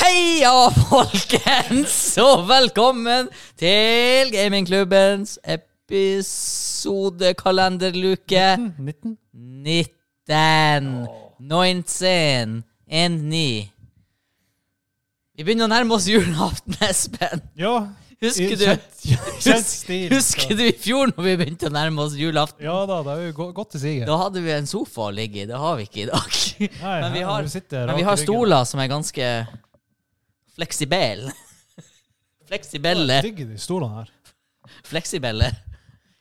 Heia, folkens, og velkommen til gamingklubbens episodekalenderluke 19. 19. 19. 19. Vi begynner å nærme oss julaften, Espen. Ja. Husker i du, Kjent, kjent stil. husker, husker du i fjor når vi begynte å nærme oss julaften? Ja da, det er jo go- godt til siget. Da hadde vi en sofa å ligge i. Det har vi ikke i dag. Nei, Men vi her har, må du sitte men rak vi i har ryggen. stoler som er ganske fleksibelle. Fleksibelle. Digger de stolene her. Fleksibelle.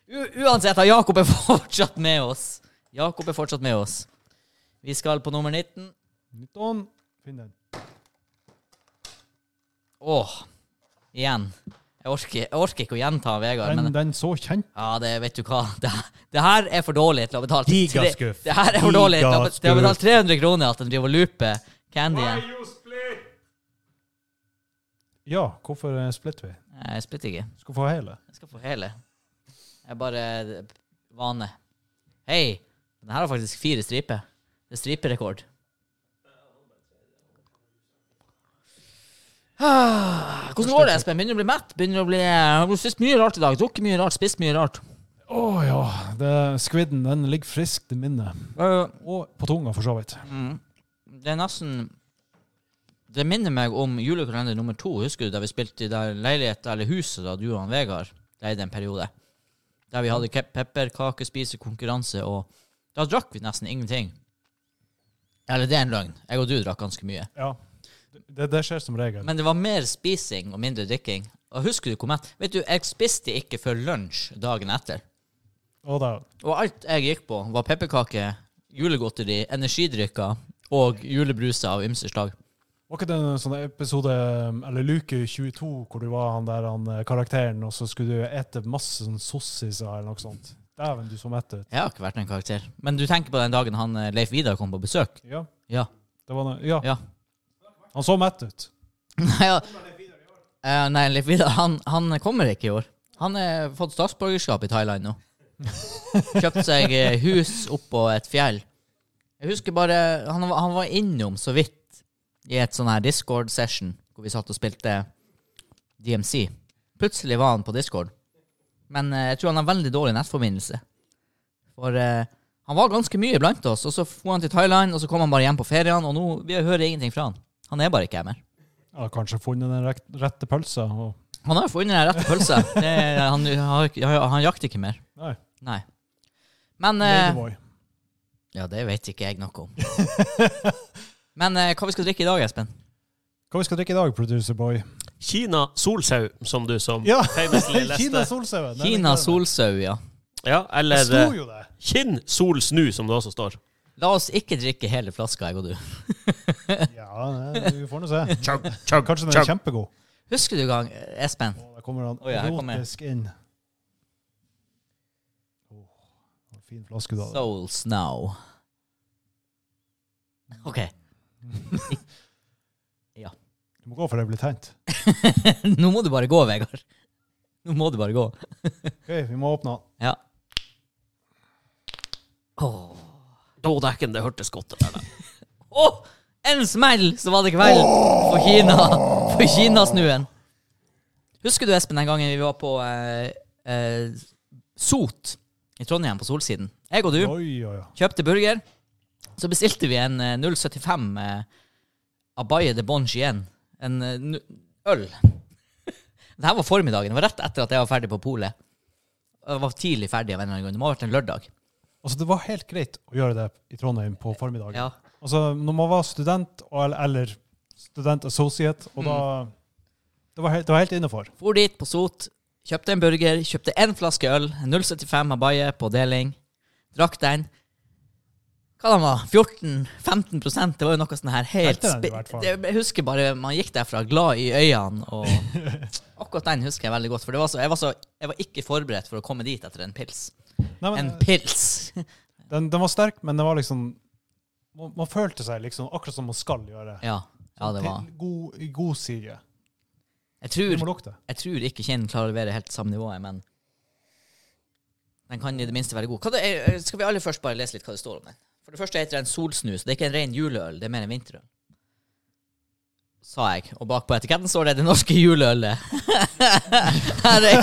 U uansett, har Jakob er fortsatt med oss. Jakob er fortsatt med oss. Vi skal på nummer 19. 19. Finn den. Åh, igjen. Jeg orker, jeg orker ikke å gjenta Vegard, Den, men den så kjent ja, det vet du hva. Det, det her er for dårlig til å betale tre- Gigaskuff. Det her er for dårlig til å be- til å betale Gigaskuff. 300 kroner at den driver og looper candyen. Ja, hvorfor eh, splitter vi? Nei, Jeg splitter ikke. Skal få hele. Jeg skal få hele. Jeg er bare vane. Hei, den her har faktisk fire striper. Det er striperekord. Ah, Hvordan går det, Espen? Begynner du å bli mett? Begynner du å bli Har du spist mye rart i dag? Drukket mye rart, spist mye rart. Å ja. Det, squidden den ligger friskt i minnet. Eh, Og på tunga, for så vidt. Det er nesten Det minner meg om julekalender nummer to. Husker du da vi spilte i der leiligheten eller huset da du og han Vegard leide en periode? Der vi hadde ke- pepperkakespisekonkurranse, og da drakk vi nesten ingenting. Eller det er en løgn. Jeg og du drakk ganske mye. Ja. Det, det skjer som regel. Men det var mer spising og mindre drikking. Og husker du hvor mett Vet du, jeg spiste ikke før lunsj dagen etter. Og da, Og alt jeg gikk på, var pepperkaker, julegodteri, energidrikker og julebruser av ymse slag. var ikke det en sånn episode, eller luke 22, hvor du var han der han, eh, karakteren, og så skulle du ete masse sånn sossiser eller noe sånt? Dæven, du så mett ut. Jeg har ikke vært en karakter. Men du tenker på den dagen han eh, Leif Vidar kom på besøk? Ja. Ja. Det var noe, ja. ja. Han så mett ut. Nei, ja. Eh, nei, Leif Vidar han, han kommer ikke i år. Han har fått statsborgerskap i Thailand nå. Kjøpt seg eh, hus oppå et fjell. Jeg husker bare Han, var- han var innom så vidt i et sånn her Discord-session hvor vi satt og spilte DMC. Plutselig var han på Discord. Men eh, jeg tror han har veldig dårlig nettforbindelse. For eh, han var ganske mye blant oss, og så dro han til Thailand, og så kom han bare hjem på ferien, og nå vi hører ingenting fra han. Han er bare ikke her mer. Jeg har kanskje funnet den rekt- rette pølsa. Og, Han har jo funnet den rette pølsa. Det, han, har ikke- han, han jakter ikke mer. nei, Nei. Men eh, Ladyboy. Ja, det vet ikke jeg noe om. Men eh, hva vi skal drikke i dag, Espen? Hva vi skal drikke i dag, producer boy? Mm. Kina solsau, som du som Ja. famously Kina leste. solsauen. den Kina liker jeg. solsau, ja. Ja, eh, Det eller sto eh, jo det. Kinn sol snu, som det også står. La oss ikke drikke hele flaska, jeg og du. Ja, nei, vi får nå se. Chug, chug, Kanskje den er chug. kjempegod. Husker du gang, eh, Espen? Og der kommer han Oi, her kommer jeg. erotisk inn. Åh, det var en fin flaske da. Souls now. OK. Du må gå for det blir tent. Nå må du bare gå, Vegard. Nå må du bare gå. Ok, vi må åpne den. Ja. Åh Å, dæken, det hørtes godt ut. der, da. Åh, en smell, så var det kveld for Kina. For Kinasnuen. Husker du, Espen, den gangen vi var på eh, eh, Sot i Trondheim, på Solsiden? Jeg og du Oi, oi, oi. kjøpte burger. Så bestilte vi en eh, 075 eh, Abaye de Bonge igjen. En eh, nu- øl. Det her var formiddagen. Det var rett etter at jeg var ferdig på polet. Jeg var tidlig ferdig av en eller annen grunn. Det må ha vært en lørdag. Altså, det var helt greit å gjøre det i Trondheim på formiddagen. Ja. Altså, når man var student, og- eller student associate, og da... Mm. Det var helt, det var helt innenfor. For dit på Sot, kjøpte en burger, kjøpte en flaske øl, 0,75 Abaye på deling. Drakk den. Hva den var 14-15 prosent? Det var jo noe sånn her helt Helt den, i spi- hvert fall. det, Jeg husker bare man gikk derfra glad i øynene og Akkurat den husker jeg veldig godt, for det var så, jeg, var så, jeg var ikke forberedt for å komme dit etter en pils. Nei, men- En pils! Den, den var sterk, men den var liksom man, man følte seg liksom akkurat som man skal gjøre. Ja, ja det var Til god, I god sige. Jeg Du tror må lukte. Jeg tror ikke Kinn klarer å levere helt samme nivået, men den kan i det minste være god. Hva det er, skal vi aller først bare lese litt hva det står om den? For det første heter den solsnus. Det er ikke en ren juleøl, det er mer en vinterøl. sa jeg. Og bakpå etiketten står det 'Det norske juleølet'. Her er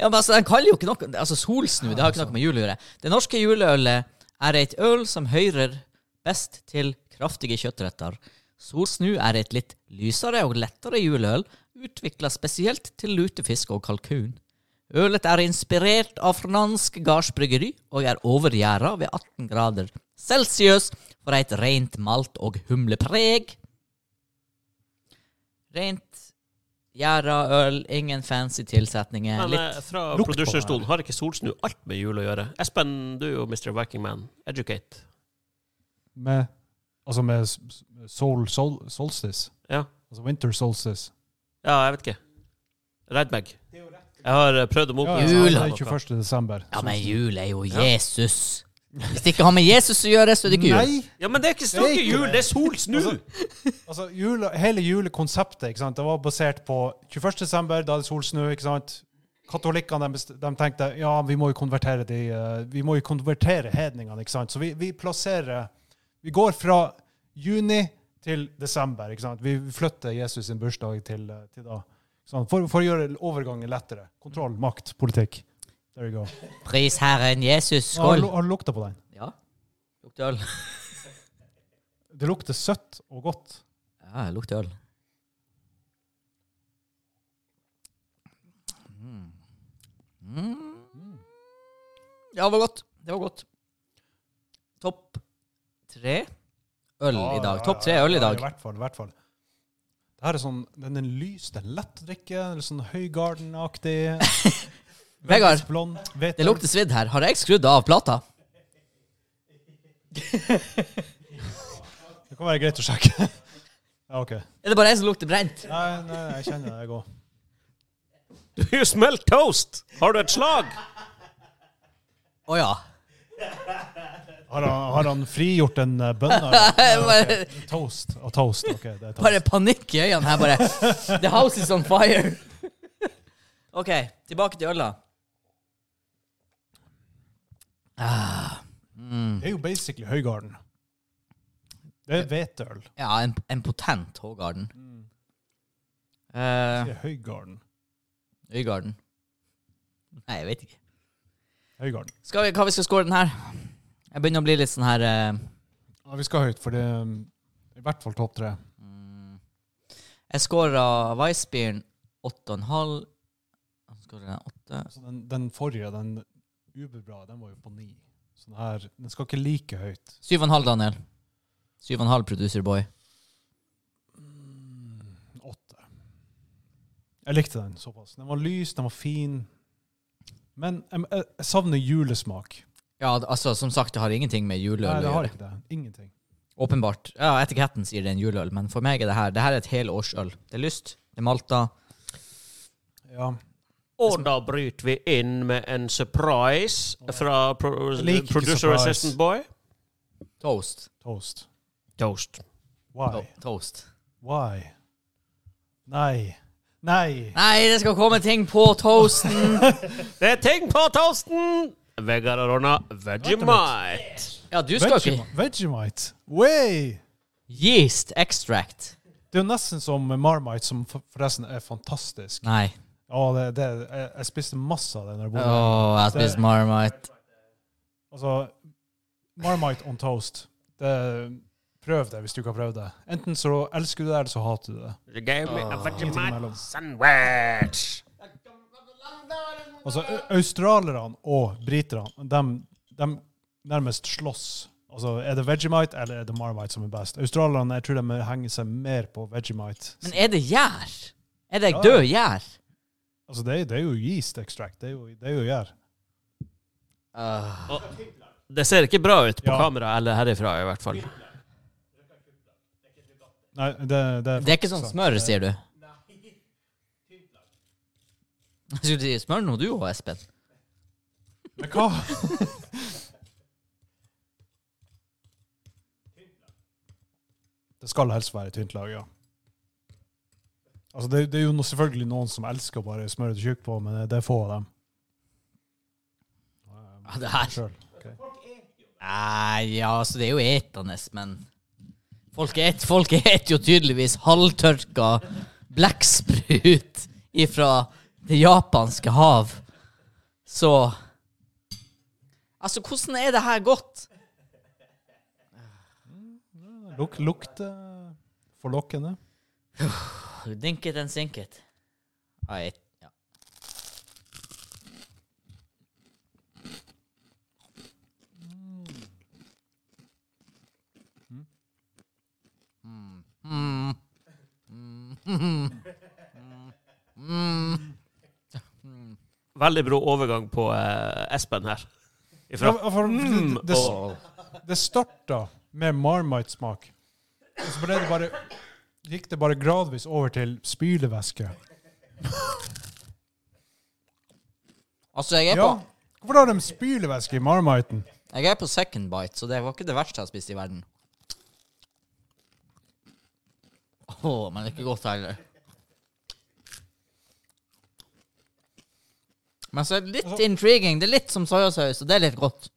ja, men altså, Den kaller jo ikke noe Altså, solsnu, det har ikke noe med jul å gjøre. Det norske juleølet er et øl som hører best til kraftige kjøttretter. Solsnu er et litt lysere og lettere juleøl, utvikla spesielt til lutefisk og kalkun. Ølet er inspirert av fransk gardsbryggeri og er overgjæra ved 18 grader celsius for et rent malt- og humlepreg. Rent gjæra øl, ingen fancy tilsetninger. Men litt eh, fra Lukt på produserstolen har ikke solsnu alt med jul å gjøre. Espen, du er jo Mr. Wacking Man. Educate. Med, altså med s- s- sol, sol, solstice. Ja. Altså winter solstice. Ja, jeg vet ikke. Red meg. Jeg har eh, prøvd å Ja, moke ja, Jul, det da. er 21. desember. Ja, men Solstice. jul er jo Ja. Jesus. Hvis det ikke har med Jesus å gjøre, så er det ikke jul. Nei! Ja, men det er ikke Det er snakke ikke jul, det. det er solsnu! Altså- Altså, jule, hele julekonseptet ikke sant? Det var basert på 21. desember, da er det solsnø. ikke sant? Katolikkene de, best- de tenkte ja, vi må jo konvertere de, eh, vi må jo konvertere hedningene. ikke sant? Så vi, vi plasserer Vi går fra juni til desember. ikke sant? Vi flytter Jesus sin bursdag til, eh, til da. ikke sant? For, for å gjøre overgangen lettere. Kontroll, makt, politikk. There you go. Pris Herren Jesus. Har du Skål. lu- har du lukta på den? Ja. Lukter øl. Det lukter søtt og godt. Ja, det lukter øl. Mm. Mm. Ja, det var godt. Det var godt. Topp tre øl Ja, i ja, dag. ja, Topp tre ja, øl i ja, dag. I hvert fall. i hvert fall. Det her er sånn, den er lys, den er lett å drikke, den er sånn Høygarden-aktig. Vegard, Blond, hvete. det lukter svidd her. Har jeg skrudd av plata? Det kan være greit å sjekke. ja, OK. Er det bare jeg som lukter brent? Nei, nei, jeg kjenner det, jeg òg. Do you smell toast? Har du et slag? Å ja. Har, han- har han frigjort en eh, bønne? Ja, ok. Toast. Og toast. OK, det er toast. Bare panikk i øynene her, bare. The house is on fire. OK, tilbake til øla. Ah, mm. Det er jo basically Høygarden. Det er hveteøl. Ja, en, en potent Hågarden. Det Eh, er Høygarden. Øygarden. Nei, jeg vet ikke. Høygarden. Skal vi, hva vi skal score den her? Jeg begynner å bli litt sånn her eh, Ja, vi skal høyt, for det er mm, i hvert fall topp tre. mm. Jeg scora Weissbieren 8,5. Så scorer jeg åtte. Så Altså, den, den forrige, den uberbra, den var jo på ni. Så den her, den skal ikke like høyt. 7,5, Daniel. 7,5 producer boy. Åtte. Jeg likte den såpass. Den var lys, den var fin. Men jeg, jeg, jeg savner julesmak. Ja, altså, som sagt, det har ingenting med Nei, juleøl det å har gjøre. ikke det. Ingenting. Åpenbart. Ja, etiketten sier det er en juleøl, men for meg er det her Det her er et helårsøl. Det er lyst, det er malta. Ja. Og da bryter vi inn med en surprise fra pro Jeg liker ikke producer surprise. assistant boy. Toast. Toast. Toast. Why? To- Toast. Why? Nei. Nei. Nei, det skal komme ting på toasten! Det er ting på toasten! Vegard har ordna Vegemite. Ja, du skal ikke Vegemite. Vegemite. Way! Yeast extract. Det er jo nesten som Marmite, som for- forresten er fantastisk. Nei. Ja, det, det, jeg, jeg spiste masse av den. der Åh, bordet. jeg har spist Marmite. Altså, Marmite on toast. Det, prøv det hvis du ikke har prøvd det. Enten så elsker du det, eller så hater du det. You gave me a Vegemite imellom. sandwich. Altså, au- Australierne og briterne de, nærmest slåss. Altså, Er det Vegemite eller er det Marmite som er best? Australierne jeg tror de henger seg mer på Vegemite. Men er det gjær? Er det Ja. død gjær? altså, det, er- det er jo yeast extract. Det er jo, det er jo gjær. Ah, Det ser ikke bra ut på Ja. kamera eller herifra, i hvert fall. Nei, det, det, Det er ikke sånn smør, sier du? Jeg skulle si smør nå, du òg, Espen. Men hva? det skal helst være tynt lag, ja. Altså, det, det er jo no- selvfølgelig noen som elsker å bare smøre det tjukt på, men det er få av dem. Ja, det her Selv. Nei, ja, altså, det er jo etende, men Folk et, folk et jo tydeligvis halvtørka blekksprut ifra det japanske hav. Så Altså, hvordan er det her godt? Luk, lukt eh, forlokkende. Dink it and sink it. Nei, ja. Mm. Mm. Mm. Veldig bra overgang på eh, Espen her. Ja, Ifra. men for, Mm, det, det, og- det starta med Marmite-smak. Og så ble det bare gikk det bare gradvis over til spylevæske. Altså, jeg er, Ja. på, Hvorfor har de spylevæske i Marmiten? jeg er på second bite, så det var ikke det verste jeg har spist i verden. Å, men det er ikke godt heller. Men så er det litt intriguing. Det er litt som soyasaus, og det er litt godt.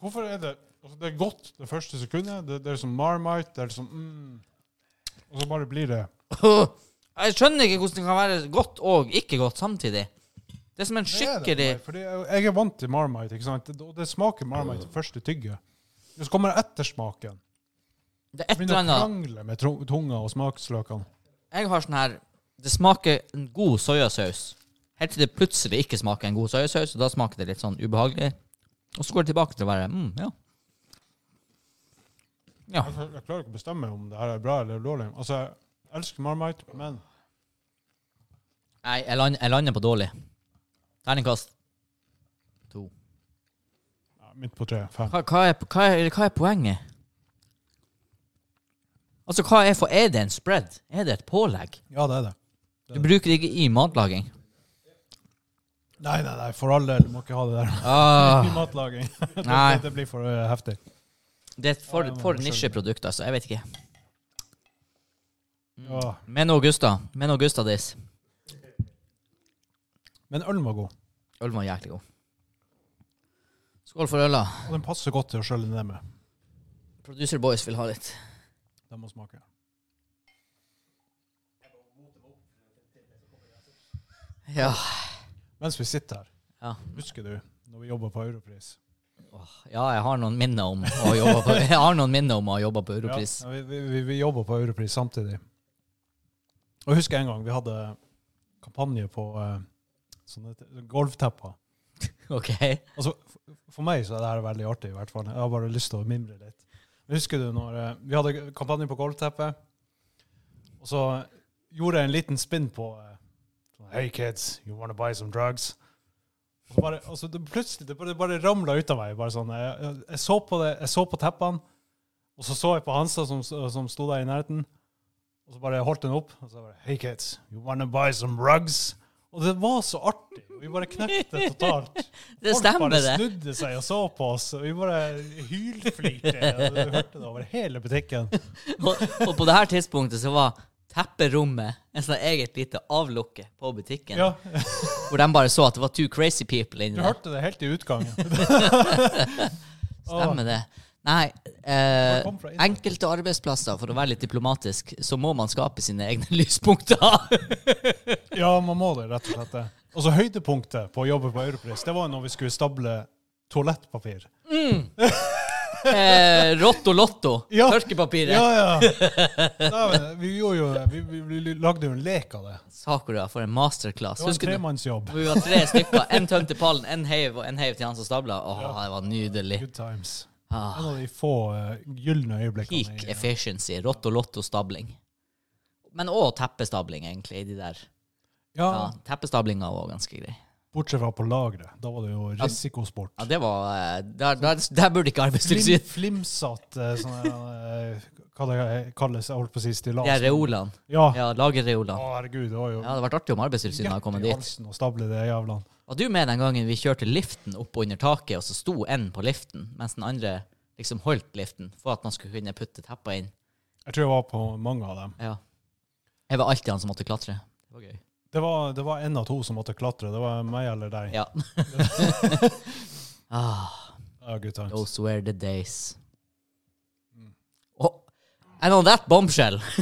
Hvorfor er det altså Det er godt det første sekundet. Det, det er som Marmite. Det er som mm. Og så bare blir det Jeg skjønner ikke hvordan det kan være godt og ikke godt samtidig. Det er som en Det er det for skikkelig meg, Fordi jeg jeg er vant til Marmite, ikke sant? Det- og det smaker Marmite første tygget. Og så kommer ettersmaken. Det er et eller Begynner å annet krangle med tro- tunga og smaksløkene. Jeg har sånn her Det smaker en god soyasaus. Helt til det plutselig ikke smaker en god soyasaus, og da smaker det litt sånn ubehagelig. Og så går det tilbake til å være mm, ja. Ja. Jeg, jeg klarer ikke å bestemme om det her er bra eller dårlig. Altså, jeg elsker Marmite, men Nei, jeg, land, jeg lander på dårlig. Terningkast to. ja, midt på treet. Fem. Hva, hva, er, hva, er, hva er poenget? Altså, hva er for Er det en spread? Er det et pålegg? Ja, det er det. Du bruker det ikke i matlaging. Nei, nei, nei, for all del. Du må ikke ha det der. Ah, I matlaging. Nei. det blir for eh, heftig. det er et for, Ja, jeg må for skjønne. nisjeprodukt, altså. Jeg vet ikke. Mm. Ja. Men Augusta. Men Augusta this. Men ølen var god, Øl var jæklig god. Skål for øla. og den passer godt til å skjølle ned med. Producer Boys vil ha litt. Den må smake. Ja. Mens vi sitter her, Ja, husker du når vi jobba på Europris? ja jeg har noen minner om å jobbe på, jeg har noen minner om å jobbe på Europris. Ja, vi vi, vi, vi jobber på Europris samtidig. Og jeg husker en gang vi hadde kampanje på eh, sånne t- golvtepper. OK. Altså, for, for meg så er det her veldig artig, i hvert fall. Jeg har bare lyst til å mimre litt. Men husker du når eh, vi hadde kampanje på golvteppet, og så gjorde jeg en liten spinn på eh, sånn, Hey kids, you wanna buy some drugs? Og så bare, altså, det, plutselig det bare, det bare ramla ut av meg. Bare sånn, jeg, jeg, jeg så på det, jeg så på teppene, og så så jeg på Hansa som, som sto der i nærheten, og så bare holdt den opp. Og så bare Hey kids, you wanna buy some rugs? Og det var så artig. og Vi bare knekte det totalt. Det stemmer, Folk bare det. snudde seg og så på oss, og vi bare hylflirte. og Du hørte det over hele butikken. Og, og på det her tidspunktet så var tepperommet en sånn eget lite avlukke på butikken, Ja, hvor de bare så at det var two crazy people Du inni der. hørte det helt i utgangen. Stemmer det. Nei, eh, kom fra innsiden. enkelte arbeidsplasser, for å være litt diplomatisk, så må man skape sine egne lyspunkter. Ja, man må det, rett og slett. det. Og så høydepunktet på å jobbe på Europris, det var når vi skulle stable toalettpapir. eh, Rotto Lotto. Ja. Tørkepapiret. Ja, ja. Nei, men vi, gjorde jo, vi, vi, vi lagde jo en lek av det. Sakura for en masterclass. Det var en Husker du? tremannsjobb. Hvor Vi var tre stykker. En tømte pallen, en heiv og en heiv til han som stabla. Åh, det var nydelig. Good times. Ah, En av de få eh, gylne øyeblikkene. peak i- efficiency. Rotto Lotto-stabling. Men òg teppestabling, egentlig. i De der. Ja, Ja, Teppestablinga var ganske grei. bortsett fra på lageret. Da var det jo risikosport. Ja, det var eh, Der, der, der burde ikke Flim, Arbeidstilsynet flimsatt eh, sånne, eh, Hva det kalles, jeg holdt på å si stillas. De her reolene. Ja. Ja, lagerreolene. Å, herregud, det var jo Ja, det hadde vært artig om Arbeidstilsynet hadde kommet i dit. halsen å stable det jævla Var du med den gangen vi kjørte liften opp under taket, og så sto en på liften, mens den andre liksom holdt liften for at man skulle kunne putte teppa inn? Jeg tror jeg var på mange av dem. Ja. Jeg var alltid han som måtte klatre. Det var gøy. Det var, det var en av to som måtte klatre. Det var meg eller deg. Ja. ah, Ja, good times. Those were the days. Oh, and on that bombshell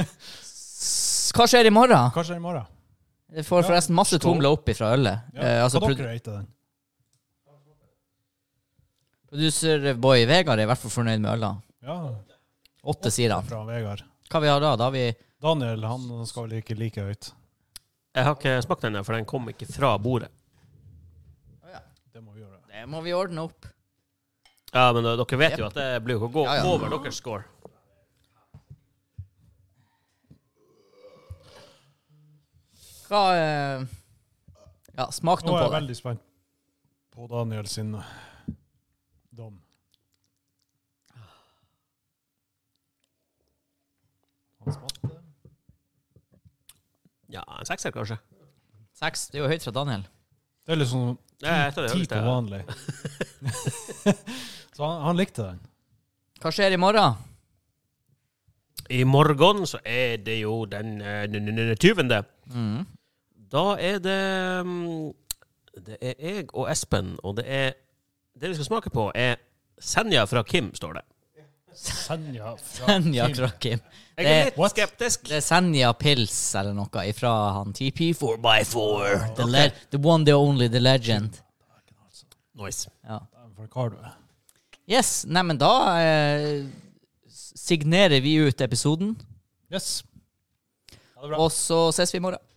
S- Hva skjer i morgen? Kanskje i morgen. Jeg får Ja, forresten masse forstår. tomler opp ifra ølet. Ja, Eh, altså, Hva prod dere rater den? producer Boy Vegard er i hvert fall fornøyd med øla. Ja, Åtte, sier han. fra Vegard. Hva vi har da? Da har vi Daniel, han skal vel ikke like høyt. Jeg har ikke smakt den, der, for den kom ikke fra bordet. Det må vi gjøre. Det må vi ordne opp. Ja, men eh, dere vet jo at det blir jo å gå Ja, ja. over deres score. Hva eh, Ja, smak nå Nå er jeg på det. veldig spent på Daniel sin eh, dom. Han smatte. Ja, en sekser, kanskje. Seks. Det er jo høyt fra Daniel. Det er litt sånn Ja, jeg tror det er ti høyt, på ja. vanlig. Så han, han likte den. Hva skjer i morgen? I morgen så er det jo den eh, n- n- n- 20. Mm. Da er det mm, Det er jeg og Espen, og det er Det vi skal smake på, er Senja fra Kim, står det. Senja Senja fra Kim. Jeg er Det- litt What? skeptisk. Det er Senja Pils eller noe ifra han TP4x4. The, le the one, the only, the legend. Nice. Ja. For hva har du? Yes, nei, men da eh, signerer vi ut episoden, Yes. og så ses vi i morgen.